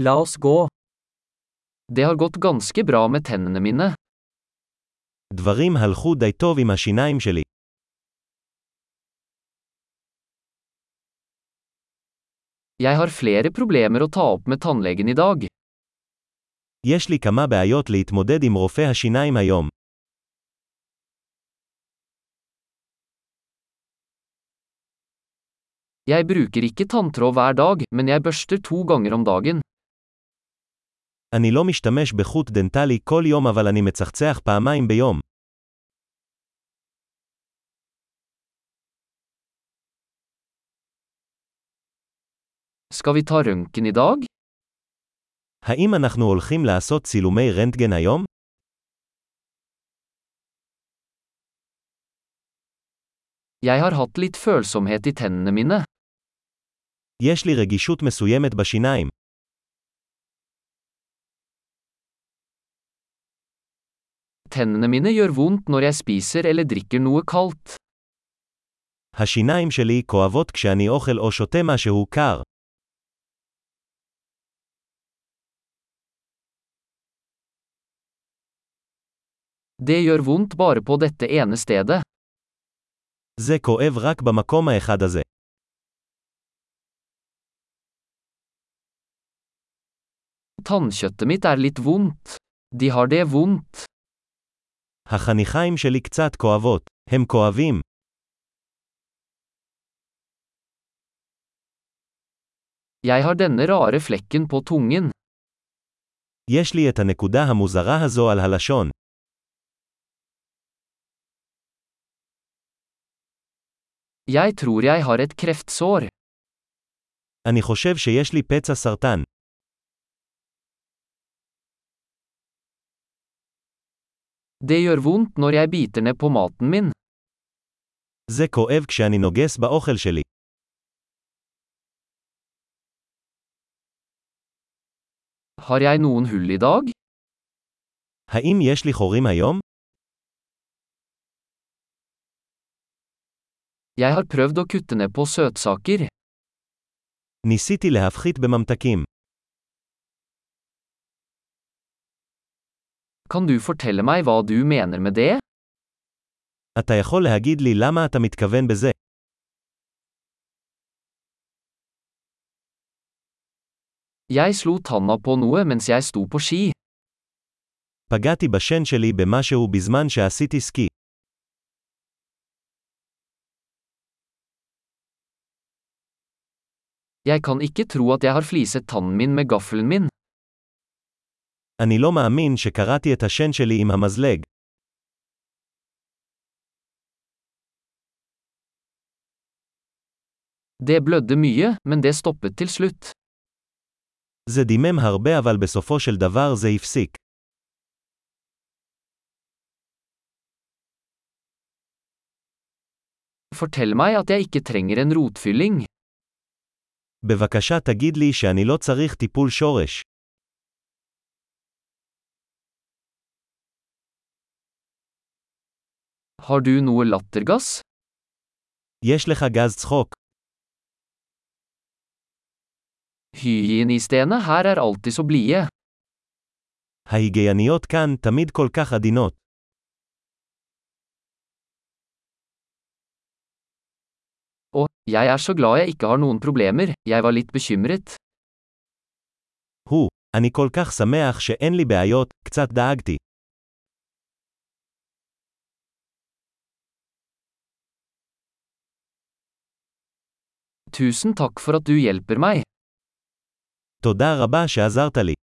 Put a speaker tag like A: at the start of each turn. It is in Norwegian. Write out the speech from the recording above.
A: La oss gå.
B: Det har gått ganske bra med tennene mine.
C: דברים הלכו די טוב עם השיניים שלי.
B: Jeg har flere problemer å ta opp med tannlegen i dag.
C: יש לי כמה בעיות להתמודד עם רופא השיניים היום.
B: Jeg bruker ikke tanntråd hver dag, men jeg børster to ganger om dagen.
C: אני לא משתמש בחוט דנטלי כל יום אבל אני מצחצח פעמיים ביום.
B: Skal vi ta røntgen i dag?
C: האם אנחנו הולכים לעשות צילומי רנטגן היום?
B: Jeg har hatt litt følsomhet i tennene mine.
C: יש לי רגישות מסוימת בשיניים.
B: Tennene mine gjør vondt når jeg spiser eller drikker noe kaldt.
C: השיניים שלי כואבות כשאני אוכל או שותה משהו קר.
B: Det gjør vondt bare på dette ene stedet.
C: זה כואב רק במקום האחד הזה.
B: Tannkjøttet mitt er litt vondt. De har det vondt.
C: החניכיים שלי קצת כואבות. הם כואבים.
B: Jeg har denne rare flekken på tungen.
C: יש לי את הנקודה המוזרה הזו על הלשון.
B: Jeg tror jeg har et kreftsår.
C: אני חושב שיש לי פצע סרטן.
B: Det gjør vondt når jeg biter ned på maten min.
C: זה כואב כשאני נוגס באוכל שלי.
B: Har jeg noen hull i dag?
C: האם יש לי חורים היום?
B: Jeg har prøvd å kutte ned på søtsaker.
C: ניסיתי להפחית בממתקים.
B: Kan du fortelle meg hva du mener med det?
C: אתה יכול להגיד לי למה אתה מתכוון בזה?
B: Jeg slo tanna på noe mens jeg sto på ski.
C: פגעתי בשן שלי במשהו בזמן שעשיתי סקי.
B: Jeg kan ikke tro at jeg har fliset tannen min med gaffelen min.
C: אני לא מאמין שקרעתי את השן שלי עם המזלג.
B: Det blødde mye, men det stoppet til slutt.
C: זה דימם הרבה אבל בסופו של דבר זה הפסיק.
B: Fortell meg at jeg ikke trenger en rotfylling.
C: בבקשה תגיד לי שאני לא צריך טיפול שורש.
B: Har du noe lattergass?
C: יש לך גז צחוק.
B: Hygienistene her er alltid så blide.
C: ההיגייניות כאן תמיד כל כך עדינות.
B: Og, jeg er så glad jeg ikke har noen problemer, jeg var litt bekymret.
C: הוא, אני כל כך שמח שאין לי בעיות, קצת דאגתי.
B: Tusen takk for at du hjelper meg.
C: תודה רבה שעזרת לי.